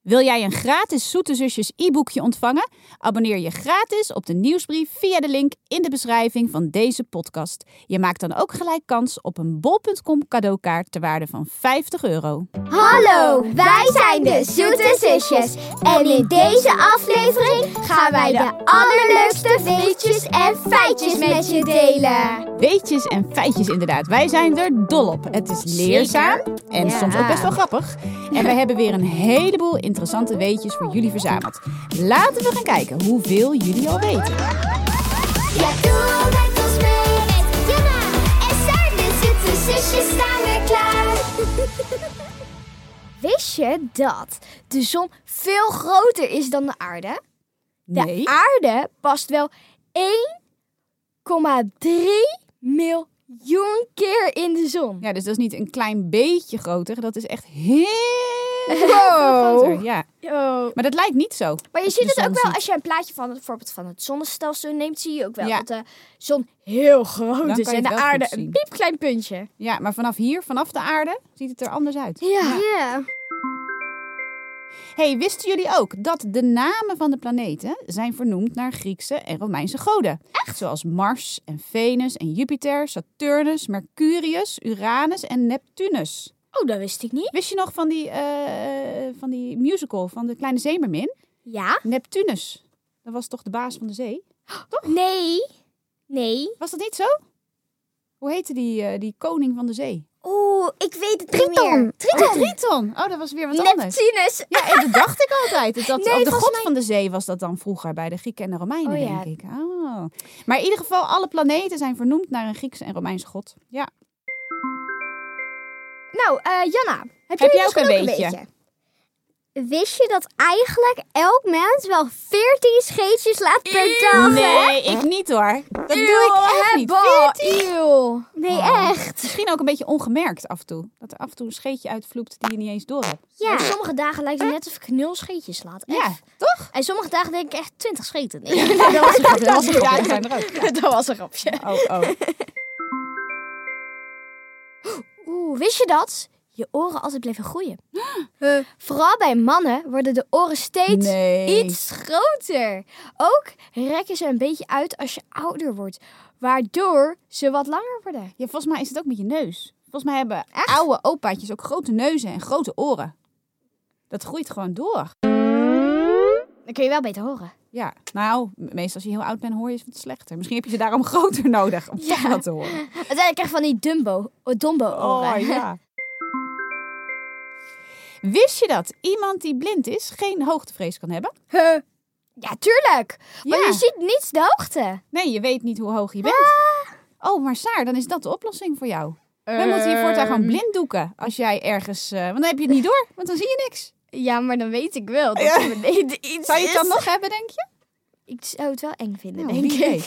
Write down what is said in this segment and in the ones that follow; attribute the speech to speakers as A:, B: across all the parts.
A: Wil jij een gratis Zoete Zusjes e-boekje ontvangen? Abonneer je gratis op de nieuwsbrief via de link in de beschrijving van deze podcast. Je maakt dan ook gelijk kans op een bol.com cadeaukaart ter waarde van 50 euro.
B: Hallo, wij zijn de Zoete Zusjes. En in deze aflevering gaan wij de allerleukste weetjes en feitjes met je delen.
A: Weetjes en feitjes inderdaad. Wij zijn er dol op. Het is leerzaam en
B: Ja.
A: soms ook best wel grappig. En wij hebben weer een heleboel interessante weetjes voor jullie verzameld. Laten we gaan kijken hoeveel jullie al weten.
B: Ja, doe met ons mee. Met Jana en Saar, de Zoete Zusjes staan weer klaar. Wist je dat de zon veel groter is dan de aarde? De
A: Nee.
B: aarde past wel 1,3 miljoen keer in de zon.
A: Ja, dus dat is niet een klein beetje groter. Dat is echt heel
B: Wow.
A: groter. Ja. Maar dat dus lijkt niet zo.
B: Maar je
A: Als je
B: ziet
A: de
B: het
A: zon
B: ook wel
A: ziet.
B: als je een plaatje van het- bijvoorbeeld van het zonnestelsel neemt, zie je ook wel
A: Ja.
B: dat de zon heel groot
A: kan
B: is
A: je
B: en
A: het
B: de
A: wel goed
B: aarde
A: zien.
B: een piepklein puntje.
A: Ja, maar vanaf hier, vanaf de aarde, ziet het er anders uit.
B: Ja.
A: hey, wisten jullie ook dat de namen van de planeten zijn vernoemd naar Griekse en Romeinse goden? Echt? Zoals Mars en Venus en Jupiter, Saturnus, Mercurius, Uranus en Neptunus.
B: Oh, dat wist ik niet.
A: Wist je nog van die, eh, van die musical van de Kleine Zeemermin?
B: Ja?
A: Neptunus. Dat was toch de baas van de zee?
B: Nee. Nee.
A: Was dat niet zo? Hoe heette die, eh, die koning van de zee?
B: Oeh, ik weet het niet meer.
A: Triton. Triton. Oh, dat was weer wat anders.
B: Neptunus.
A: Ja, en dat dacht ik altijd. Dat, dat,
B: Nee,
A: oh, de
B: volgens
A: god van de zee was dat dan vroeger bij de Grieken en de Romeinen,
B: Oh, ja.
A: denk ik. Oh. Maar in ieder geval, alle planeten zijn vernoemd naar een Griekse en Romeinse god. Ja.
B: Nou, eh, Janna, heb,
A: jij
B: jij
A: ook
B: ook een
A: een
B: beetje?
A: weetje?
B: Wist je dat eigenlijk elk mens wel 14 scheetjes laat per dag?
A: Nee, ik niet hoor. Dat doe ik echt niet.
B: Nee, echt.
A: Misschien ook een beetje ongemerkt af en toe. Dat er af en toe een scheetje uitvloept die je niet eens door hebt.
B: Ja. sommige dagen lijkt het net of ik nul scheetjes slaat.
A: Ja, toch?
B: En sommige dagen denk ik echt 20 scheten.
A: Dat was een grapje. Dat was een grapje. Ja, zijn er ook. Ja.
B: dat was een grapje.
A: Oh, oh.
B: Oeh, wist je dat? Je oren altijd blijven groeien. Vooral bij mannen worden de oren steeds
A: Nee.
B: iets groter. Ook rekken ze een beetje uit als je ouder wordt, waardoor ze wat langer worden.
A: Ja, volgens mij is het ook met je neus. Volgens mij hebben
B: Echt?
A: oude opaatjes ook grote neuzen en grote oren. Dat groeit gewoon door.
B: Dan kun je wel beter horen.
A: Ja, nou, meestal als je heel oud bent hoor je ze wat slechter. Misschien heb je ze daarom groter nodig om toch
B: Ja.
A: wat te horen.
B: Uiteindelijk eh, krijg je van die Dumbo, oh, Dombo-oren.
A: ja. Wist je dat iemand die blind is geen hoogtevrees kan hebben?
B: Huh. Ja, tuurlijk. Want
A: Ja.
B: je ziet niets de hoogte.
A: Nee, je weet niet hoe hoog je bent.
B: Ah.
A: Oh, maar Saar, dan is dat de oplossing voor jou. We moeten hier voortaan gewoon
B: Ehm,
A: blind doeken als jij ergens... eh, want dan heb je het niet door, want dan zie je niks.
B: Ja, maar dan weet ik wel dat
A: Ja.
B: er beneden iets
A: Zou je het dan
B: is.
A: nog hebben, denk je?
B: Ik zou het wel eng vinden,
A: Nou,
B: denk
A: wie
B: ik.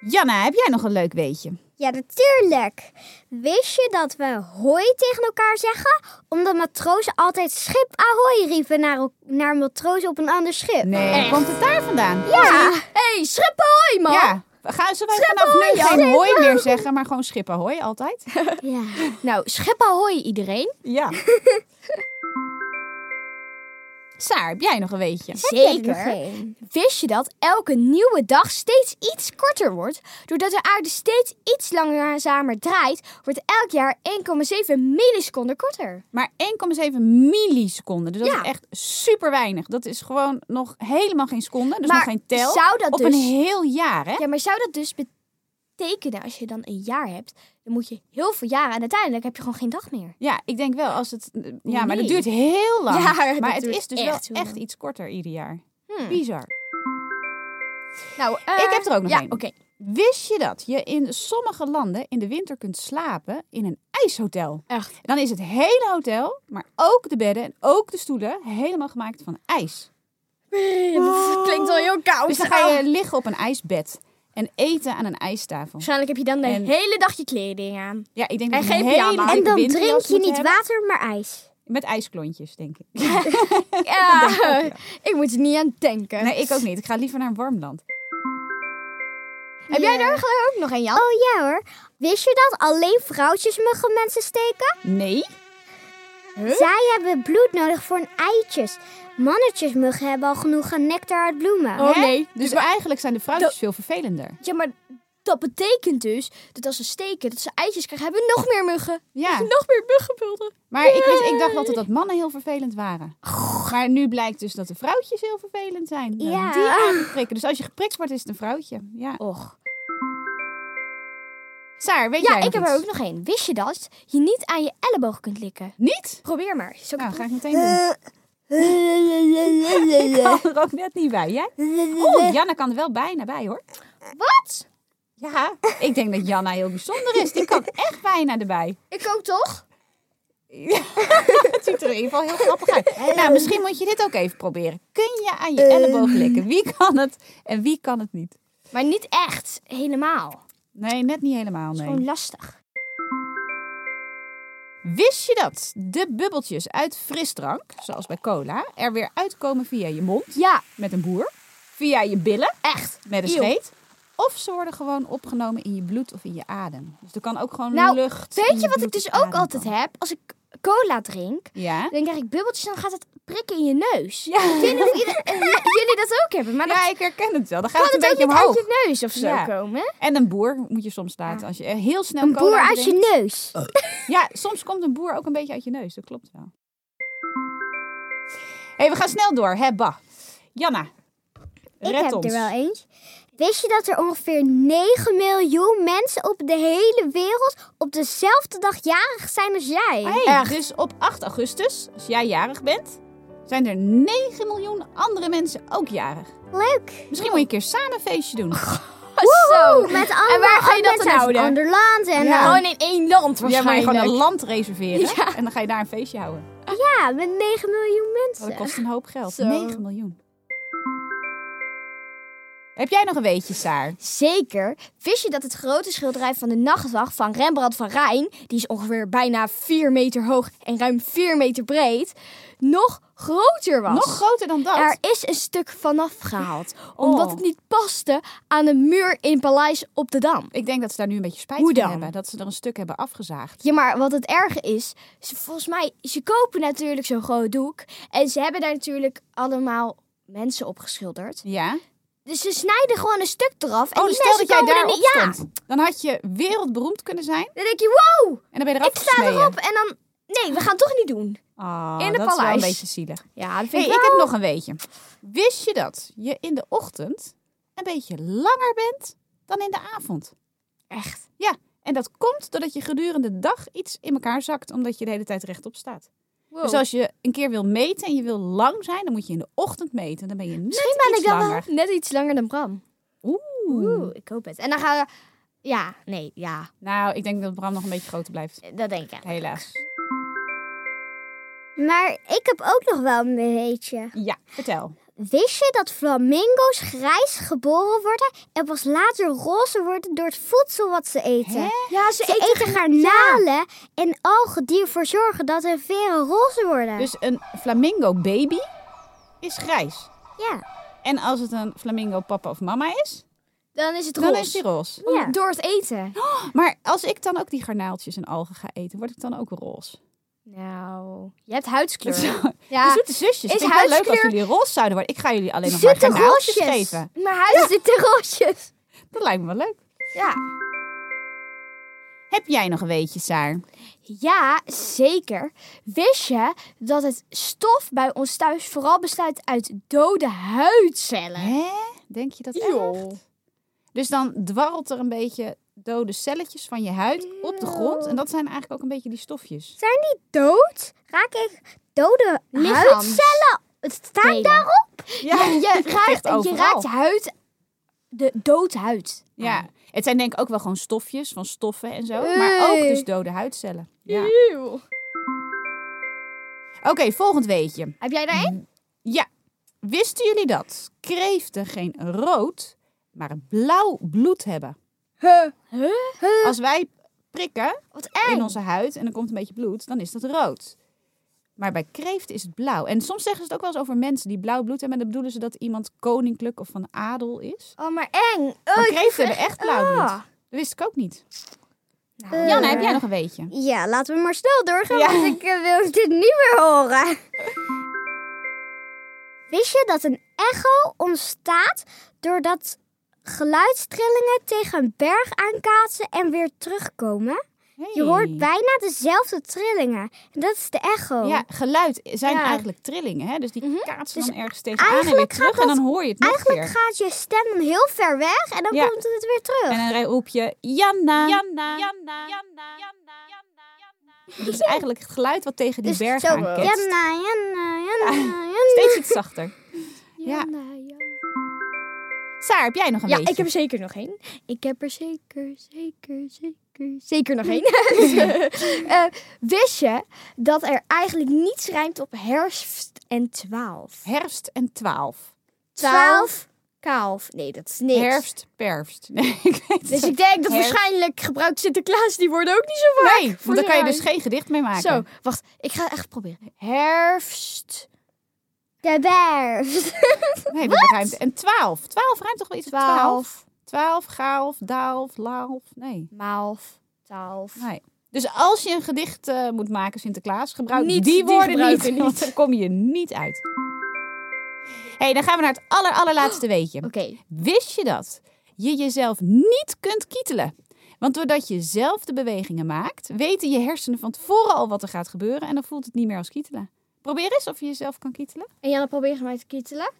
A: Janna, heb jij nog een leuk weetje?
C: Ja, natuurlijk. Wist je dat we hoi tegen elkaar zeggen? Omdat matrozen altijd schip ahoy riepen naar, el- naar matrozen op een ander schip.
A: Nee. Komt het daar vandaan?
B: Ja. hey, schip ahoy, man.
A: Ja. Gaan ze wij vanaf nu geen hooi meer zeggen, maar gewoon schip ahoy altijd?
C: Ja.
B: Nou, schip ahoy iedereen.
A: Ja. Saar, heb jij nog een weetje?
B: Wist je dat elke nieuwe dag steeds iets korter wordt? Doordat de aarde steeds iets langzamer draait, wordt elk jaar 1,7 milliseconden korter.
A: Maar 1,7 milliseconden. Dus dat
B: Ja.
A: is echt super weinig. Dat is gewoon nog helemaal geen seconde. Dus
B: Maar
A: nog geen tel.
B: zou dat
A: op
B: dus-
A: een heel jaar, hè?
B: Ja, maar zou dat dus betekenen als je dan een jaar hebt, dan moet je heel veel jaren en uiteindelijk heb je gewoon geen dag meer.
A: Ja, ik denk wel als het. Ja, maar dat
B: Nee.
A: duurt heel lang.
B: Ja, dat
A: maar het
B: duurt
A: is dus
B: echt
A: wel
B: heel
A: echt
B: lang.
A: iets korter ieder jaar.
B: Hmm.
A: Bizar.
B: Nou,
A: Ik heb er ook nog
B: ja,
A: een.
B: oké.
A: Wist je dat je in sommige landen in de winter kunt slapen in een ijshotel?
B: Echt.
A: Dan is het hele hotel, maar ook de bedden en ook de stoelen helemaal gemaakt van ijs.
B: Dat klinkt wel heel koud. Nou,
A: Dus dan ga je liggen op een ijsbed en eten aan een ijstafel.
B: Waarschijnlijk heb je dan de
A: En-
B: hele dag je kleding aan.
A: Ja, ik denk dat
B: En
A: je een
B: geen
A: hele
B: pyjama.
A: dikke
C: En dan
A: winterjas
C: drink je
A: moet
C: niet
A: hebben.
C: water, maar ijs.
A: Met ijsklontjes, denk ik.
B: Ja,
A: ook,
B: ik moet er niet aan denken.
A: Nee, ik ook niet. Ik ga liever naar een warm land.
B: Heb jij daar eigenlijk ook nog een, Jan?
C: Oh ja hoor. Wist je dat alleen vrouwtjes muggen mensen steken?
A: Nee?
C: Zij hebben bloed nodig voor hun eitjes. Mannetjesmuggen hebben al genoeg aan nectar uit bloemen.
B: Oh,
A: Hè?
B: nee.
A: Dus, eigenlijk zijn de vrouwtjes veel vervelender.
B: Ja, maar dat betekent dus dat als ze steken, dat ze eitjes krijgen, hebben we nog meer muggen.
A: Ja,
B: Nog meer muggenbulden.
A: maar ik, wist, ik dacht altijd dat mannen heel vervelend waren. Maar nu blijkt dus dat de vrouwtjes heel vervelend zijn. Nou,
C: Ja.
A: Die aangeprikken. Dus als je geprikt wordt, is het een vrouwtje. Ja.
B: Och.
A: Saar, weet
B: Ja,
A: jij nog
B: ik heb
A: iets?
B: er ook nog één. Wist je dat je niet aan je elleboog kunt likken?
A: Niet?
B: Probeer maar. Zo
A: Nou, ga ik meteen doen. Ik kan er ook net niet bij. Jij? Oeh, Janna kan er wel bijna bij hoor.
B: Wat?
A: Ja, ik denk dat Janna heel bijzonder is. Die kan echt bijna erbij.
B: Ik ook toch?
A: Het ziet er in ieder geval heel grappig uit. Nou, misschien moet je dit ook even proberen. Kun je aan je elleboog likken? Wie kan het en wie kan het niet?
B: Maar niet echt. Helemaal. Dat
A: Nee, net niet helemaal,
B: is gewoon
A: nee.
B: lastig.
A: Wist je dat de bubbeltjes uit frisdrank, zoals bij cola, er weer uitkomen via je mond
B: Ja,
A: met een boer, via je billen
B: echt.
A: met een
B: Eeuw.
A: scheet, of ze worden gewoon opgenomen in je bloed of in je adem. Dus er kan ook gewoon
B: Nou,
A: lucht. in
B: Weet je wat
A: bloed
B: ik dus
A: of
B: ook
A: adem
B: altijd
A: komen.
B: heb? Als ik cola drink,
A: Ja?
B: dan krijg ik bubbeltjes en dan gaat het prikken in je neus.
A: Ja.
B: Ik weet niet of ieder- jullie dat ook hebben, maar
A: ja,
B: dat
A: ik herken het wel. Dan gaat
B: kan
A: het een
B: het ook
A: beetje
B: niet
A: omhoog.
B: uit je neus of zo
A: Ja.
B: komen.
A: En een boer moet je soms laten. Als je eh, heel snel
C: Een
A: cola
C: boer uit je
A: drinkt.
C: neus.
A: Ja, soms komt een boer ook een beetje uit je neus. Dat klopt wel. hey, we gaan snel door. Hè, bah. Janna,
C: Ik
A: red
C: heb
A: ons.
C: er wel eens. Wist je dat er ongeveer 9 miljoen mensen op de hele wereld op dezelfde dag jarig zijn als jij?
A: Hey, dus op 8 augustus, als jij jarig bent, zijn er 9 miljoen andere mensen ook jarig.
C: Leuk.
A: Misschien moet je een keer samen een feestje doen.
B: Zo.
C: Oeh, Met allemaal
B: waar Oh, ga je dat
C: mensen
B: dan
C: uit
B: houden?
C: een ander land. En,
A: Ja.
C: eh,
B: Gewoon in één land
A: Jij moet
B: waarschijnlijk.
A: gewoon een land reserveren en dan ga je daar een feestje houden.
C: ja, met 9 miljoen
A: Oh, dat
C: mensen.
A: kost een hoop geld.
B: Zo.
A: 9 miljoen. Heb jij nog een weetje, Saar?
B: Zeker. Wist je dat het grote schilderij van de Nachtwacht van Rembrandt van Rijn, die is ongeveer bijna 4 meter hoog en ruim 4 meter breed, nog groter was?
A: Nog groter dan dat?
B: Er is een stuk vanaf gehaald,
A: Oh.
B: omdat het niet paste aan de muur in Paleis op de Dam.
A: Ik denk dat ze daar nu een beetje spijt
B: Hoe
A: van
B: dan?
A: hebben. Dat ze er een stuk hebben afgezaagd.
B: Ja, maar wat het erge is, ze, volgens mij, ze kopen natuurlijk zo'n groot doek en ze hebben daar natuurlijk allemaal mensen op geschilderd.
A: Ja?
B: Dus ze snijden gewoon een stuk eraf en
A: Oh,
B: die
A: stel
B: mensen
A: dat jij
B: komen er
A: daarop
B: niet. Ja,
A: stond. Dan had je wereldberoemd kunnen zijn.
B: dan denk je, wow,
A: En dan ben je eraf
B: ik sta
A: gesneden.
B: erop en dan, nee, we gaan het toch niet doen.
A: Ah,
B: In de
A: dat is wel een
B: paleis.
A: beetje zielig.
B: Ja, dat vind
A: Hey,
B: ik wel.
A: ik heb nog een weetje. Wist je dat je in de ochtend een beetje langer bent dan in de avond?
B: echt.
A: En dat komt doordat je gedurende de dag iets in elkaar zakt, omdat je de hele tijd rechtop staat. Dus
B: Dus als-
A: als je een keer wil meten en je wil lang zijn, dan moet je in de ochtend meten. Dan ben je net
B: Misschien ben
A: iets
B: ik dan wel
A: langer.
B: net iets langer dan Bram.
A: Oeh.
B: Oeh, ik hoop het. En dan gaan we... Ja, nee, ja.
A: Nou, ik denk dat Bram nog een beetje groter blijft.
B: Dat denk ik.
A: Helaas.
C: Maar ik heb ook nog wel een beetje.
A: Ja, vertel.
C: Wist je dat flamingo's grijs geboren worden en pas later roze worden door het voedsel wat ze eten?
A: Hè?
B: Ja, ze
C: Ze eten garnalen en algen die ervoor zorgen dat hun veren roze worden.
A: Dus een flamingo baby is grijs.
C: ja.
A: En als het een flamingo papa of mama is,
B: Dan is het
A: dan
B: roze.
A: is die roze.
B: Om-
C: Ja.
B: Door het eten.
A: Maar als ik dan ook die garnaaltjes en algen ga eten, word ik dan ook roze.
B: Nou, je hebt huidskleur.
A: Zo.
B: Ja,
A: De zoete zusjes.
B: Is
A: Vind ik wel leuk als
B: huidskleur-
A: jullie roze zouden worden. Ik ga jullie alleen nog maar
C: Zoete
A: garnaaltjes
C: roosjes.
A: geven.
B: maar huid ja. zitten roosjes.
A: Dat lijkt me wel leuk.
B: Ja.
A: Heb jij nog een weetje, Saar?
B: ja, zeker. Wist je dat het stof bij ons thuis vooral bestaat uit dode huidcellen?
A: Hè? Denk je dat echt? Dus dan dwarrelt er een beetje dode celletjes van je huid op de grond. En dat zijn eigenlijk ook een beetje die stofjes.
C: Dood? Raak ik dode
B: Lichaams.
C: huidcellen? Het staat
B: Delen.
C: daarop.
B: Ja, je
A: echt
B: raakt, je
A: overal.
B: raakt je huid, de doodhuid.
A: Ja, het zijn denk ik ook wel gewoon stofjes van stoffen en zo. Maar ook
B: Oei.
A: dus dode huidcellen. Ja. Oké, volgend weetje.
B: Heb jij daar één?
A: Ja, wisten jullie dat kreeften geen rood, maar een blauw bloed hebben? Als wij prikken
B: Wat
A: in
B: eng.
A: onze huid en er komt een beetje bloed, dan is dat rood. Maar bij kreeften is het blauw. En soms zeggen ze het ook wel eens over mensen die blauw bloed hebben. En dan bedoelen ze dat iemand koninklijk of van adel is.
B: Oh, maar eng.
A: Maar kreeften hebben echt blauw bloed.
B: Ah.
A: Dat wist ik ook niet.
C: Eh.
B: Nou,
A: Janne, heb jij nog een weetje?
C: Ja, laten we maar snel doorgaan,
A: Ja.
C: want ik eh, wil dit niet meer horen. Wist je dat een echo ontstaat doordat geluidstrillingen tegen een berg aankaatsen en weer terugkomen? Je hoort bijna dezelfde trillingen. En dat is de echo.
A: Ja, geluid zijn
C: Oh. Ja.
A: eigenlijk trillingen, hè? Dus die kaatsen
C: Dus
A: dan ergens tegenaan en weer
C: eigenlijk gaat
A: terug en dan
C: dat-
A: hoor je het nog
C: Eigenlijk
A: weer.
C: gaat je stem dan heel ver weg en dan
A: Ja.
C: komt het weer terug.
A: En dan roep je Janna. Janna. Janna. Janna. Dat is eigenlijk het geluid wat tegen die
C: dus
A: berg
C: zo,
A: aanketst.
C: Janna, Janna, Janna, Janna.
A: Steeds iets zachter. Ja.
B: Janna, Janna.
A: Saar, heb jij nog een
B: Ja,
A: weetje?
B: ik heb er zeker nog één. Ik heb er zeker, zeker, zeker, zeker nog één. Eh, wist je dat er eigenlijk niets rijmt op herfst en twaalf?
A: Herfst en twaalf.
C: Twaalf.
B: Kaalf. Nee, dat is niks.
A: Herfst, perfst. Nee, ik weet het
B: Dus
A: niet.
B: ik denk dat
A: Herfst.
B: waarschijnlijk gebruikt Sinterklaas die woorden ook niet zo vaak.
A: Nee,
B: voor
A: want daar kan je
B: de
A: dus geen gedicht mee maken.
B: Zo, wacht. Ik ga het echt proberen. Herfst.
C: De berg.
A: Nee, dat ruimt. En twaalf. Twaalf ruimt toch wel iets op twaalf?
B: Twaalf.
A: Twaalf, gaalf, daalf, laalf. Nee.
B: Maalf. Twaalf.
A: nee. Dus als je een gedicht eh, moet maken, Sinterklaas, gebruik
B: Niet-
A: die
B: die
A: woorden niet,
B: gebruiken niet.
A: Want dan kom je niet uit. hey, dan gaan we naar het aller, allerlaatste weetje.
B: Oké.
A: Wist je dat? Je jezelf niet kunt kietelen. Want doordat je zelf de bewegingen maakt, weten je hersenen van tevoren al wat er gaat gebeuren en dan voelt het niet meer als kietelen. Probeer eens of je jezelf kan kietelen.
B: En Janne probeert mij te kietelen.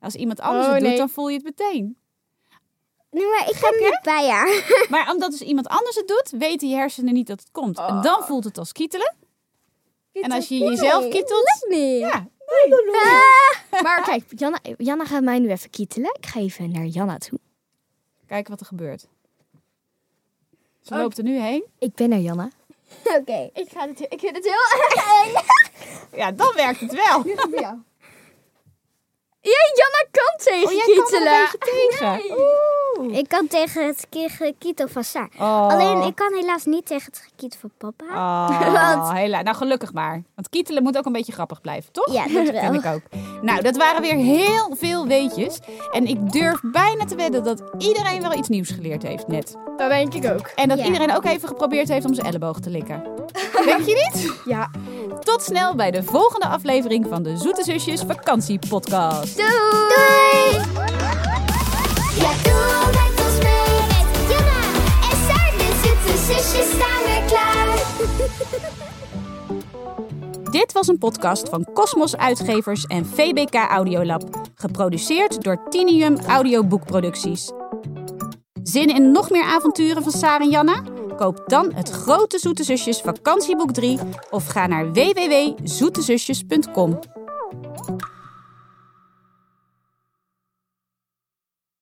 A: Als iemand anders
B: Oh,
A: het doet,
B: nee.
A: dan voel je het meteen.
C: Nee, maar ik heb hem niet bij haar.
A: Maar omdat dus iemand anders het doet, weten je hersenen niet dat het komt. En dan
B: Oh.
A: voelt het als kietelen. En als je jezelf kietelt,
C: Nee.
A: ja,
B: Maar kijk, Janna, Janna gaat mij nu even kietelen. Ik ga even naar Janna toe.
A: kijk wat er gebeurt. Ze loopt er nu heen.
B: Ik ben naar Janna.
C: Oké.
B: Ik, ga dit, ik vind het heel erg.
A: Ja, dan werkt het wel. Oh,
B: Jee, Janna kan tegen
A: Oh, jij kan
B: kietelen.
A: er een beetje tegen. Oeh.
C: Ik kan tegen het ki- gekietel van Saar.
A: Oh.
C: Alleen ik kan helaas niet tegen het gekietel van papa.
A: Oh,
C: Want-
A: helaas. Nou, gelukkig maar. Want kietelen moet ook een beetje grappig blijven, toch?
C: Ja, dat wel.
A: vind ik ook. Nou, dat waren weer heel veel weetjes. En ik durf bijna te wedden dat iedereen wel iets nieuws geleerd heeft net.
B: Dat denk ik ook.
A: En dat
C: Ja.
A: iedereen ook even geprobeerd heeft om zijn elleboog te likken. Denk je niet?
B: Ja.
A: Tot snel bij de volgende aflevering van de Zoete Zusjes Vakantiepodcast.
C: Doei! Ja, doe met ons mee met Janna en Saar. De zitten zusjes staan weer klaar.
A: Dit was een podcast van Cosmos Uitgevers en VBK Audiolab. Geproduceerd door Tinium Audioboekproducties. Zin in nog meer avonturen van Sarah en Janna? Koop dan het Grote Zoete Zusjes Vakantieboek 3 of ga naar www.zoetezusjes.com.